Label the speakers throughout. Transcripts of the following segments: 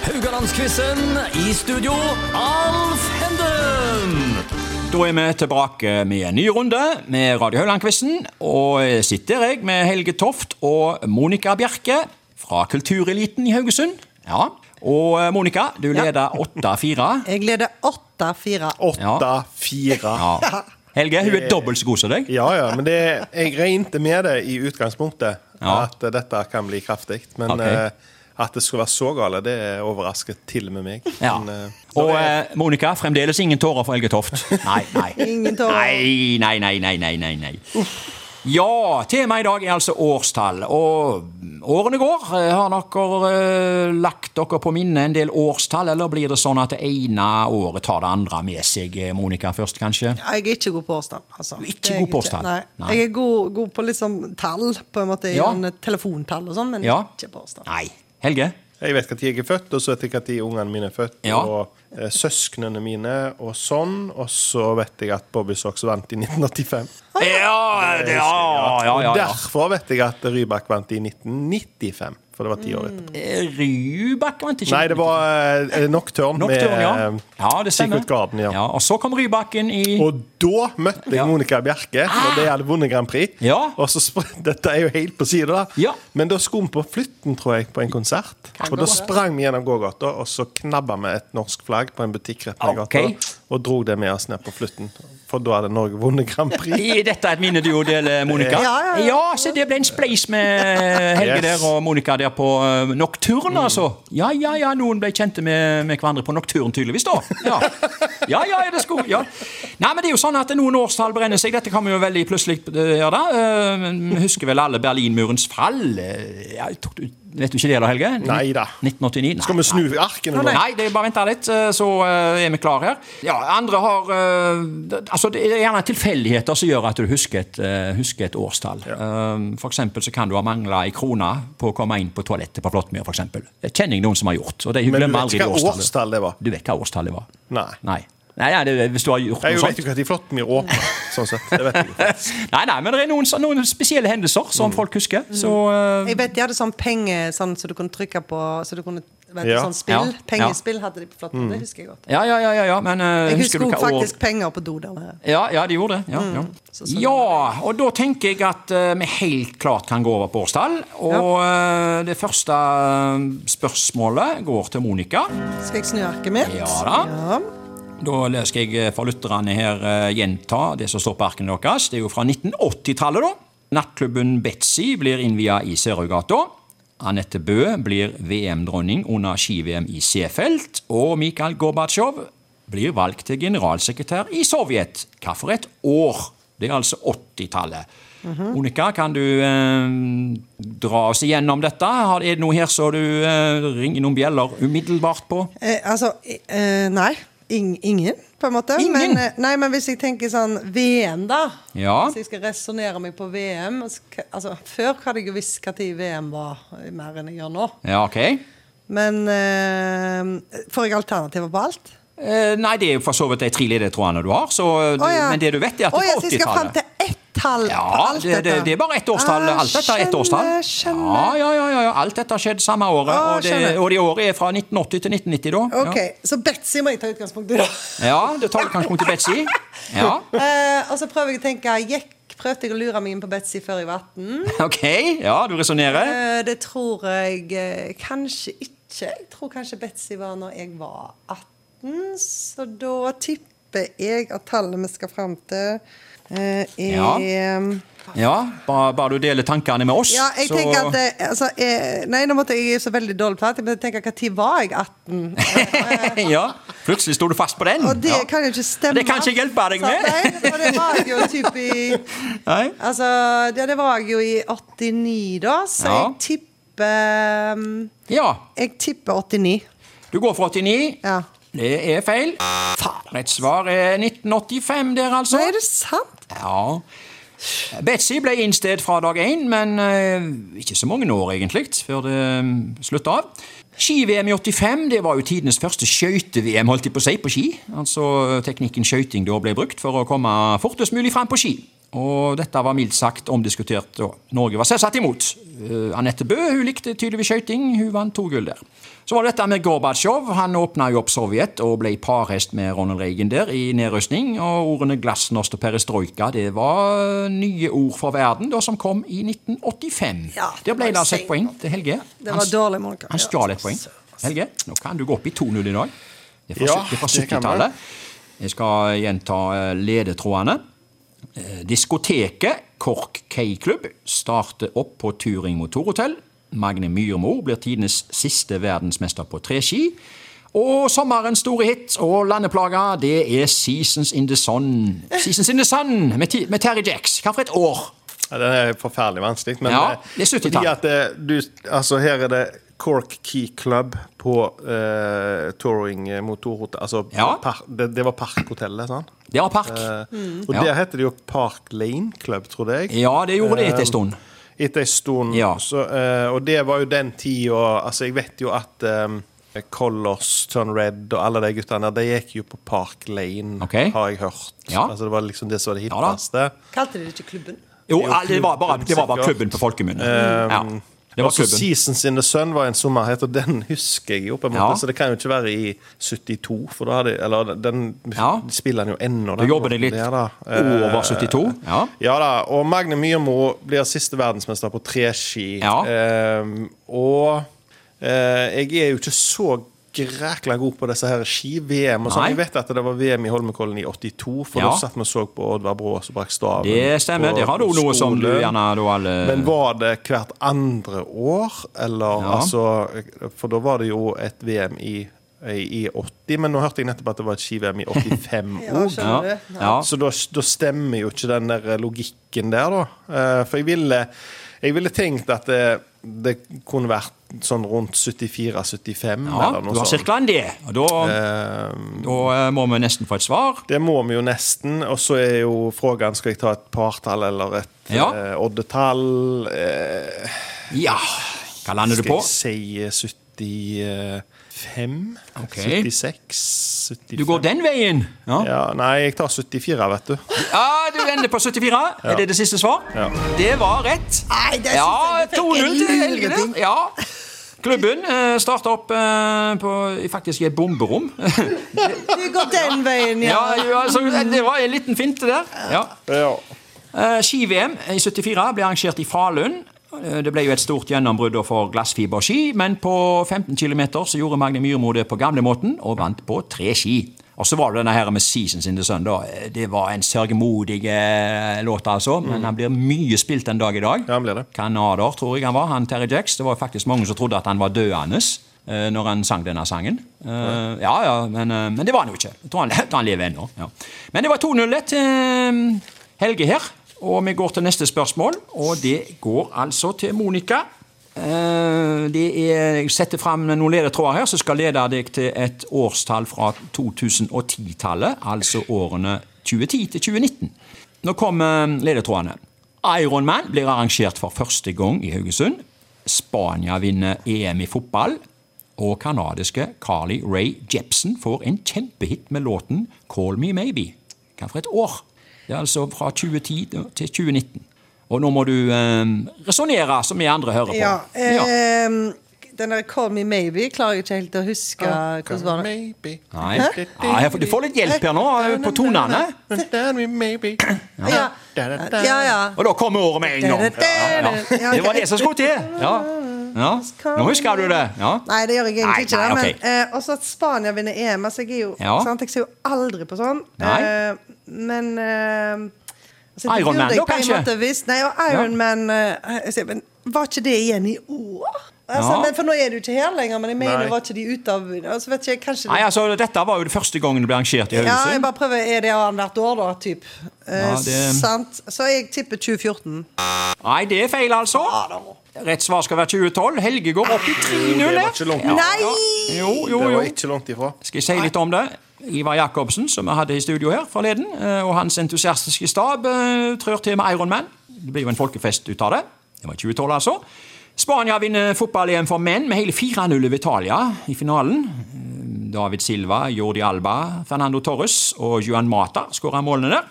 Speaker 1: Rogalandsquizen. I studio, Alf Henden.
Speaker 2: Da er vi tilbake med en ny runde med Radio Høyland-quizen. Og sitter jeg med Helge Toft og Monica Bjerke fra Kultureliten i Haugesund. Ja, Og eh, Monica, du leder 8-4.
Speaker 3: Jeg leder 8-4.
Speaker 2: Ja.
Speaker 4: Åtte, fire.
Speaker 2: Ja. Helge, hun er dobbelt så god som deg.
Speaker 4: Ja, ja, men det, jeg regnet med det i utgangspunktet,
Speaker 2: Ja.
Speaker 4: at eh, dette kan bli kraftig. Men
Speaker 2: Ok.
Speaker 4: eh, at det skulle være så gale, det overrasker til og med meg.
Speaker 2: Ja.
Speaker 4: Men, eh,
Speaker 2: Og
Speaker 4: når jeg-
Speaker 2: eh, Monica, fremdeles ingen tårer for Helge Toft. Nei, nei.
Speaker 3: Ingen tårer.
Speaker 2: Nei, nei, nei, nei, nei, nei, nei. Ja, temaet i dag er altså årstall. Og årene går. Eh, Har dere eh, lagt dere på minne en del årstall, eller blir det sånn at det ene året tar det andre med seg, eh, Monica, først, kanskje?
Speaker 3: Jeg er ikke god på årstall. Altså.
Speaker 2: er ikke
Speaker 3: Det er jeg
Speaker 2: god på årstall?
Speaker 3: Nei.
Speaker 2: Nei.
Speaker 3: Jeg er god, god på liksom tall, på en måte.
Speaker 2: Ja.
Speaker 3: Sånn, eh, telefontall og sånn, men
Speaker 2: Ja.
Speaker 3: ikke på årstall.
Speaker 2: Nei. Helge?
Speaker 4: Jeg vet når jeg er født, og så vet jeg når ungene mine er født,
Speaker 2: Ja.
Speaker 4: og eh, søsknene mine, og sånn. Og så vet jeg at Bobby Socks vant i 1985.
Speaker 2: Ja, ja, ja, ja,
Speaker 4: Og
Speaker 2: ja.
Speaker 4: derfor vet jeg at Rybak vant i 1995, for det var ti år etterpå.
Speaker 2: Eh, Rybak vant ikke
Speaker 4: Nei, det var eh, Nocturne,
Speaker 2: Nocturne, Mm. ja.
Speaker 4: med eh,
Speaker 2: ja, det stemmer.
Speaker 4: Secret Garden. Ja.
Speaker 2: Ja, og så kom Rybakken i
Speaker 4: Og da møtte jeg
Speaker 2: Ja. Ah!
Speaker 4: Monica Bjerke når de hadde vunnet Grand Prix.
Speaker 2: Ja.
Speaker 4: Og så spr- Dette er jo helt på siden da.
Speaker 2: Ja.
Speaker 4: Men da skulle vi på Flytten, tror jeg, på en konsert. og da sprang vi gjennom gågata, og så knabba vi et norsk flagg på en butikk rett ned i gata.
Speaker 2: Ok.
Speaker 4: Og dro det med oss ned på Flytten. For da hadde Norge vunnet Grand Prix.
Speaker 2: I- Dette er et minne du deler, Monica.
Speaker 3: Ja, ja, ja.
Speaker 2: så det ble en spleis med Helge
Speaker 4: Yes.
Speaker 2: der og Monica der på eh, Nocturne, altså. Ja, ja, ja, noen ble kjente med, med hverandre på Nocturne, tydeligvis, da. Ja, ja, ja, det skulle, ja. Nei, men det er jo sånn at noen årstall brenner seg. Dette kan vi jo veldig plutselig eh, gjøre, da. Eh, men vi Husker vel alle Berlinmurens fall? Eh, ja, jeg tror du- Vet du ikke det, da, Helge?
Speaker 4: Nei da.
Speaker 2: 1989? Nei,
Speaker 4: Skal vi
Speaker 2: nei.
Speaker 4: snu arkene nå?
Speaker 2: Nei, det er bare vent her litt, så eh, er vi klar her. Ja, andre har eh, det- Altså, det er gjerne tilfeldigheter som gjør at du husker et, eh, husker et årstall. Eh, For eksempel så kan du ha mangla ei krone på å komme inn på toalettet på Flåttmyr, f.eks. Det kjenner jeg noen som har gjort, og de
Speaker 4: Men du
Speaker 2: glemmer
Speaker 4: vet
Speaker 2: aldri
Speaker 4: ikke
Speaker 2: det
Speaker 4: hva
Speaker 2: årstallet.
Speaker 4: årstall det var?
Speaker 2: Du vet hva årstallet var?
Speaker 4: Nei.
Speaker 2: Nei. Nei, ja, det, hvis du har gjort noe
Speaker 4: Jeg vet
Speaker 2: sånt.
Speaker 4: jo ikke at de Flåttmyr åpner, sånn sett. Det vet jeg ikke.
Speaker 2: Nei, nei, men det er noen, så- noen spesielle hendelser som
Speaker 4: Mm.
Speaker 2: folk husker. Så eh,
Speaker 3: Jeg vet de hadde sånn penge sånn som du kunne trykke på Så du kunne, vet du,
Speaker 4: Ja.
Speaker 3: sånn spill
Speaker 2: Ja.
Speaker 3: Pengespill hadde de på flotten, det husker jeg godt.
Speaker 2: Ja, ja, ja, ja, ja, men eh,
Speaker 3: Jeg
Speaker 2: husker
Speaker 3: husker
Speaker 2: du
Speaker 3: også
Speaker 2: hva år
Speaker 3: faktisk penger på do der nede.
Speaker 2: Ja, ja, de gjorde det. Ja, ja.
Speaker 3: Så- så-
Speaker 2: ja, og da tenker jeg at eh, vi helt klart kan gå over på årstall. Og eh, det første eh, spørsmålet går til Monica.
Speaker 3: Skal jeg snu arket mitt?
Speaker 2: Ja da.
Speaker 3: Ja.
Speaker 2: Da le- skal jeg eh, for lytterne her eh, gjenta det som står på arkene deres. Det er jo fra 1980-tallet, da. Nattklubben Betzy blir innvia i Sørøygata. Anette Bø blir VM-dronning under ski-VM i Seefeld. Og Mikhail Gorbatsjov blir valgt til generalsekretær i Sovjet. Hva for et år? Det er altså 80-tallet. Monica, kan du eh, dra oss igjennom dette? Har- Er det noe her som du eh, ringer noen bjeller umiddelbart på?
Speaker 3: Eh, altså, eh, nei. Ing, ingen, på en måte.
Speaker 2: Ingen?
Speaker 3: Men, eh, nei, men hvis jeg tenker sånn VM, da.
Speaker 2: Ja.
Speaker 3: Hvis jeg skal resonnere meg på VM sk- altså, Før hadde jeg jo visst når VM var, eh, mer enn jeg gjør nå.
Speaker 2: Ja, ok.
Speaker 3: Men eh, får jeg alternativer på alt?
Speaker 2: Eh, nei, det er jo for så vidt de tre ledetrådene du har. Så, eh, du-
Speaker 3: Å ja.
Speaker 2: Men det du vet, er at
Speaker 3: Å ja,
Speaker 2: det er
Speaker 3: så jeg skal fram
Speaker 2: 80-tallet.
Speaker 3: til ett tall på
Speaker 2: Ja,
Speaker 3: alt
Speaker 2: det, det,
Speaker 3: dette?
Speaker 2: det er bare ett årstall.
Speaker 3: Ah,
Speaker 2: Alt dette er ett årstall.
Speaker 3: Skjønner, skjønner.
Speaker 2: Ja, ja, ja, ja. Alt dette har skjedd samme året.
Speaker 3: Ah,
Speaker 2: og, det,
Speaker 3: skjønner.
Speaker 2: og det året er fra 1980 til 1990, da.
Speaker 3: Ok, Så Betzy må jeg ta utgangspunkt i, da.
Speaker 2: Ja, ja det tar du kanskje mot til Betzy. Ja,
Speaker 3: Eh, og så prøver jeg å tenke Jekk, prøvde jeg å lure meg inn på Betzy før jeg var 18?
Speaker 2: ok. Ja, du resonnerer.
Speaker 3: Eh, Det tror jeg eh, kanskje ikke. Jeg tror kanskje Betzy var når jeg var 18, så da tipper jeg at tallet vi skal fram til, eh, er
Speaker 2: Ja.
Speaker 3: ja.
Speaker 2: Ja, bare, bare du deler tankene med oss.
Speaker 3: jeg tenker at eh, altså, eh, Nei, nå måtte jeg jeg er så veldig dårlig på dette, men jeg tenker når var jeg 18?
Speaker 2: ja, plutselig sto du fast på den.
Speaker 3: Og det
Speaker 2: ja.
Speaker 3: kan jo ikke stemme.
Speaker 2: Det kan ikke jeg hjelpe deg med.
Speaker 3: Sant? Nei, og det var jeg jo typ i
Speaker 2: Nei?
Speaker 3: Altså, ja, det var jeg jo i 89, da, så
Speaker 2: Ja.
Speaker 3: jeg tipper mm,
Speaker 2: Ja,
Speaker 3: Jeg tipper 89.
Speaker 2: du går for 89.
Speaker 3: Ja.
Speaker 2: Det er feil. Rett svar er 1985 der, altså.
Speaker 3: Nei, er det sant?
Speaker 2: Ja. Betzy ble innstedt fra dag én, men eh, ikke så mange år egentlig, før det mm, slutta av. Ski-VM i 85 det var jo tidenes første skøyte-VM holdt jeg på å si, på ski. Altså Teknikken skøyting da ble brukt for å komme fortest mulig fram på ski. Og dette var mildt sagt omdiskutert, og Norge var selvsagt imot. Eh, Anette Bø hun likte tydeligvis skøyting, hun vant to gull der. Så var det dette med Gorbatsjov. Han åpna jo opp Sovjet og ble parhest med Ronald Reagan der i nedrustning. Og ordene glasnost og perestrojka det var eh, nye ord for verden da som kom i 1985.
Speaker 3: Ja,
Speaker 2: der ble
Speaker 3: det
Speaker 2: det
Speaker 3: var
Speaker 2: altså et
Speaker 3: sent.
Speaker 2: poeng til Helge.
Speaker 3: Det
Speaker 2: Han-
Speaker 3: var dårlig, Monica.
Speaker 2: Han stjal et poeng. Helge, nå kan du gå opp i 2-0 i dag. Det er fra,
Speaker 4: Ja,
Speaker 2: sytt- det er fra
Speaker 4: det kan
Speaker 2: 70-tallet. Jeg skal gjenta eh, ledetrådene. Eh, Diskoteket Kork K-klubb starter opp på Turing motorhotell. Magne Myrmo blir tidenes siste verdensmester på treski. Og sommerens store hit og landeplaga, det er Seasons in the Sun. Seasons in the Sun med, ti- med Terry Jacks. Hva for et år?
Speaker 4: Ja, den er forferdelig vanskelig. Men
Speaker 2: Ja,
Speaker 4: eh,
Speaker 2: det er
Speaker 4: fordi
Speaker 2: 70-tall.
Speaker 4: at eh, du, altså, her er det Cork Key Club på uh, Touring Motorhotell. Altså,
Speaker 2: Ja.
Speaker 4: par, det, det var Parkhotellet, sånn?
Speaker 2: Det var park.
Speaker 4: Eh, Og
Speaker 2: Mm. Ja.
Speaker 4: der heter det jo Park Lane Club, trodde jeg. Eh,
Speaker 2: Ja, det gjorde det etter en stund.
Speaker 4: Etter en stund.
Speaker 2: Ja.
Speaker 4: Så, eh, og det var jo den tida Altså, jeg vet jo at um, Colors, Turn Red og alle de guttene de gikk jo på Park Lane,
Speaker 2: Ok.
Speaker 4: har jeg hørt.
Speaker 2: Ja.
Speaker 4: Altså, det var liksom det som var det
Speaker 2: Ja da.
Speaker 4: hippeste.
Speaker 3: Kalte de det ikke klubben?
Speaker 2: Jo,
Speaker 4: jo
Speaker 2: ja, det var bare, det var bare
Speaker 4: klubben, Eh,
Speaker 2: klubben på folkemunne. ja. Det var
Speaker 4: Også
Speaker 2: klubben.
Speaker 4: Seasons in the Sun var en sommerhet, og den husker jeg jo. på en måte
Speaker 2: Ja.
Speaker 4: Så det kan jo ikke være i 72, for da hadde Eller den
Speaker 2: Ja.
Speaker 4: spiller han jo ennå.
Speaker 2: Du jobber deg litt
Speaker 4: der, da.
Speaker 2: over
Speaker 4: Eh,
Speaker 2: 72. Ja.
Speaker 4: Ja da, og Magne Myrmo blir siste verdensmester på treski.
Speaker 2: Ja.
Speaker 4: Ehm, og eh, jeg er jo ikke så grækla god på disse her ski-VM. og sånn.
Speaker 2: Nei.
Speaker 4: Jeg vet at det var VM i Holmenkollen i 82, for
Speaker 2: Ja.
Speaker 4: da satt vi og så på Oddvar Brå som brakk staven.
Speaker 2: Det stemmer.
Speaker 4: på-
Speaker 2: Der har du
Speaker 4: på
Speaker 2: noe som du
Speaker 4: skolen.
Speaker 2: gjerne da alle
Speaker 4: Men var det hvert andre år, eller
Speaker 2: Ja.
Speaker 4: altså For da var det jo et VM i, i 80, men nå hørte jeg nettopp at det var et ski-VM i 85
Speaker 3: Ja,
Speaker 4: òg.
Speaker 2: ja.
Speaker 3: skjønner du?
Speaker 2: Ja.
Speaker 4: Så da, da stemmer jo ikke den der eh, logikken der, da. Eh, For jeg ville, jeg ville tenkt at det, det kunne vært sånn rundt 74-75
Speaker 2: ja,
Speaker 4: eller
Speaker 2: du
Speaker 4: noe
Speaker 2: har
Speaker 4: sånt.
Speaker 2: sirkla en D. Og da,
Speaker 4: Eh,
Speaker 2: da eh, må vi nesten få et svar.
Speaker 4: Det må vi jo nesten. Og så er jo frågan skal jeg ta et partall eller et
Speaker 2: Ja.
Speaker 4: eh, oddetall. Eh,
Speaker 2: Ja. Hva lander du på?
Speaker 4: Skal jeg si eh, 75?
Speaker 2: Ok.
Speaker 4: 76? 75?
Speaker 2: Du går den veien? Ja,
Speaker 4: Ja, nei, jeg tar 74, vet du.
Speaker 2: ja du ender på 74. Er det det siste svar?
Speaker 4: Ja.
Speaker 2: Det var rett.
Speaker 3: Nei, det synes
Speaker 2: Ja,
Speaker 3: jeg du fikk
Speaker 2: 2-0 til
Speaker 3: en
Speaker 2: Helge der.
Speaker 3: luring.
Speaker 2: Ja. Klubben eh, starta opp eh, på, faktisk i et bomberom.
Speaker 3: Du går den veien, ja.
Speaker 2: ja, jo, altså, det var en liten finte der. Ja.
Speaker 4: Ja.
Speaker 2: Eh, Ski-VM i 74 ble arrangert i Falun. Eh, Det ble jo et stort gjennombrudd da for glassfiberski, men på 15 km så gjorde Magne Myrmo det på gamlemåten og vant på tre ski. Og så var det denne her med 'Seasons in the Sun'. da. Eh, Det var en sørgemodig eh, låt, altså. Men han blir mye spilt den dag i dag.
Speaker 4: Mm. Ja, han blir det.
Speaker 2: Kanader, tror jeg han var. han Terry Jacks. Det var faktisk mange som trodde at han var døende eh, når han sang denne sangen. Eh, ja, ja, men, eh, men det var han jo ikke. Jeg tror han, jeg tror han lever ennå. Ja. Men det var 2-0 til eh, Helge her. Og vi går til neste spørsmål, og det går altså til Monica. Eh, Det er, jeg setter fram noen ledetråder her som skal lede deg til et årstall fra 2010-tallet, altså årene 2010 til 2019. Nå kommer ledetrådene. Ironman blir arrangert for første gang i Haugesund. Spania vinner EM i fotball. Og kanadiske Carly Ray Jepsen får en kjempehit med låten 'Call Me Maybe'. Hva for et år? Det er altså fra 2010 til 2019. Og nå må du eh, resonnere, som vi andre hører på.
Speaker 3: Ja,
Speaker 2: Ja.
Speaker 3: ehm, den der 'Call Me Maybe' klarer jeg ikke helt å huske hvordan var det.
Speaker 4: Maybe.
Speaker 2: Nei. Nei, jeg får- du får litt hjelp her nå, eh, på tonene.
Speaker 4: Maybe.
Speaker 3: Ja, ja. ja.
Speaker 2: Og da kommer året med en gang. Ja. Det var det som skulle til. Ja. Ja. Nå husker du det. Ja.
Speaker 3: Nei, det gjør jeg egentlig
Speaker 2: Nei,
Speaker 3: ikke.
Speaker 2: nei,
Speaker 3: da,
Speaker 2: ok.
Speaker 3: Men eh, også at Spania vinner EM. Altså, jeg er jo
Speaker 2: Ja.
Speaker 3: sant? Jeg ser jo aldri på sånn.
Speaker 2: Nei.
Speaker 3: Eh, men eh, altså, det
Speaker 2: Iron Man,
Speaker 3: burde jeg
Speaker 2: da,
Speaker 3: på en
Speaker 2: kanskje?
Speaker 3: måte visst. Nei, og Iron
Speaker 2: Ja.
Speaker 3: Man eh, jeg ser, Men var ikke det igjen i år? Altså,
Speaker 2: Ja.
Speaker 3: men, for nå er du ikke her lenger, men jeg mener
Speaker 4: Nei.
Speaker 3: var ikke de ute av altså, vet ikke, jeg, kanskje det,
Speaker 2: Nei, altså, Dette var jo det første gangen det ble arrangert i
Speaker 3: ja, jeg
Speaker 2: Haugesund.
Speaker 3: bare prøver, Er det annethvert år, da? Typ. Eh,
Speaker 2: Ja, det-
Speaker 3: Sant? Så jeg tipper 2014.
Speaker 2: Nei, det er feil, altså. Rett svar skal være 2012. Helge går opp i 3-0.
Speaker 4: Det var ikke langt.
Speaker 2: Ja.
Speaker 3: Nei!
Speaker 2: Jo, jo,
Speaker 4: Det
Speaker 2: jo.
Speaker 4: var ikke langt ifra.
Speaker 2: Skal jeg si litt om det? Ivar Jacobsen, som vi hadde i studio her forleden, eh, og hans entusiastiske stab eh, trør til med Ironman. Det blir jo en folkefest ut av det. Det var 2012, altså. Spania vinner fotball-EM for menn med hele 4-0 over Italia i finalen. Eh, David Silva, Jordi Alba, Fernando Torres og Juan Mata skåra målene der.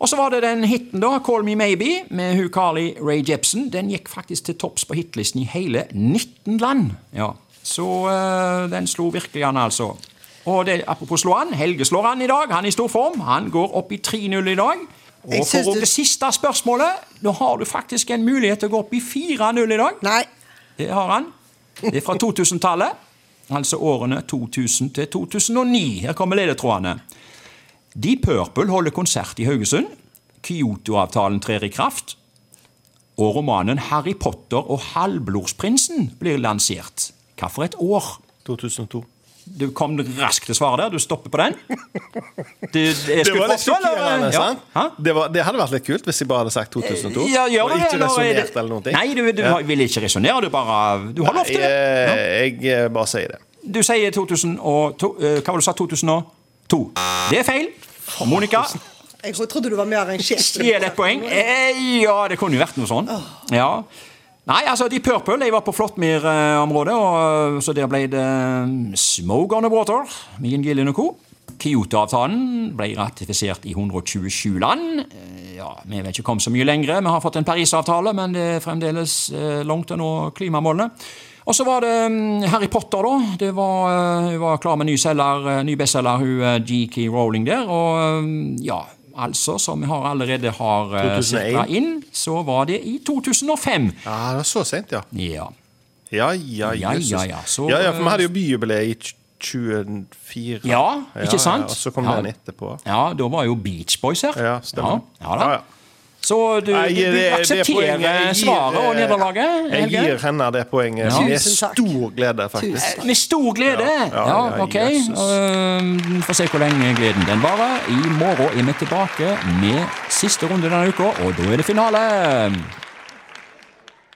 Speaker 2: Og så var det den hiten, da, 'Call Me Maybe', med Hugh Carley, Ray Jepson. Den gikk faktisk til topps på hitlisten i hele 19 land. Ja. Så eh, den slo virkelig an, altså. Og det, apropos slå an, Helge slår an i dag. Han er i stor form. Han går opp i 3-0 i dag.
Speaker 3: Jeg
Speaker 2: Og
Speaker 3: synes
Speaker 2: for
Speaker 3: du-
Speaker 2: det siste spørsmålet, nå har du faktisk en mulighet til å gå opp i 4-0 i dag.
Speaker 3: Nei.
Speaker 2: Det har han. Det er fra 2000-tallet. Altså årene 2000 til 2009. Her kommer ledetrådene. Deep Purple holder konsert i Haugesund. Kyoto-avtalen trer i kraft. Og romanen 'Harry Potter og halvblodsprinsen' blir lansert. Hva for et år?
Speaker 4: 2002.
Speaker 2: Du kom raskt til svaret der. Du stopper på den. Du, jeg
Speaker 4: Det
Speaker 2: skulle
Speaker 4: var litt
Speaker 2: forstå, eller?
Speaker 4: sjokkerende,
Speaker 2: Ja.
Speaker 4: sant?
Speaker 2: Hæ?
Speaker 4: Det, var, det hadde vært litt kult hvis jeg bare hadde sagt 2002.
Speaker 2: Ja, gjør
Speaker 4: og
Speaker 2: det,
Speaker 4: ikke
Speaker 2: eller er det-
Speaker 4: resonnert eller noen ting.
Speaker 2: Nei, du, du har- vil ikke resonnere. Du bare Du har lov til
Speaker 4: Jeg,
Speaker 2: det. Ja.
Speaker 4: eh, jeg eh, bare sier det.
Speaker 2: Du sier 2002 eh, Hva var det du sa? 2002. Det er feil. Monica
Speaker 3: Jeg tro- trodde du var mer enn sjef.
Speaker 2: stjeler et poeng. Eh, ja, det kunne jo vært noe sånn. Ja. Nei, altså, de Purple Jeg var på Flåttmyr-området, og eh, så der ble det eh, Smoke on the Water med Jim Gillen og co. Kyoto-avtalen ble ratifisert i 127 land. Eh, Ja, Vi vet ikke kommet så mye lenger. Vi har fått en Parisavtale, men det er fremdeles eh, langt til å nå klimamålene. Og så var det mm, Harry Potter, da. Det var, eh, hun var klar med ny, selger, eh, ny bestselger, hun eh, G.K. Rowling der. Og mm, ja, altså, som vi har allerede har eh,
Speaker 4: 2001.
Speaker 2: sirklet inn, så var det i 2005.
Speaker 4: Ja, det var så sent, ja.
Speaker 2: Ja.
Speaker 4: Ja, ja,
Speaker 2: Ja,
Speaker 4: Jesus.
Speaker 2: ja, ja, så-
Speaker 4: ja, ja, for vi hadde jo byjubileum i tj- 24.
Speaker 2: Ja, ikke sant?
Speaker 4: og så kom
Speaker 2: Ja.
Speaker 4: den etterpå.
Speaker 2: ja, da var jo Beach Boys her.
Speaker 4: Ja, stemmer.
Speaker 2: Ja, ja da.
Speaker 4: Ja, ja.
Speaker 2: Så du,
Speaker 4: Nei,
Speaker 2: du, du
Speaker 4: det- det
Speaker 2: aksepterer
Speaker 4: poenget- jeg gir,
Speaker 2: svaret og
Speaker 4: eh,
Speaker 2: nederlaget?
Speaker 4: Jeg
Speaker 2: Helge?
Speaker 4: gir henne det poenget
Speaker 3: Ja.
Speaker 4: med
Speaker 3: Tusen takk.
Speaker 4: stor glede, faktisk.
Speaker 2: Eh, Med stor glede!
Speaker 4: Ja,
Speaker 2: Ja,
Speaker 4: ja,
Speaker 2: ok.
Speaker 4: Jesus.
Speaker 2: Ehm, Får se hvor lenge gleden den varer. I morgen er vi tilbake med siste runde denne uka, og da er det finale!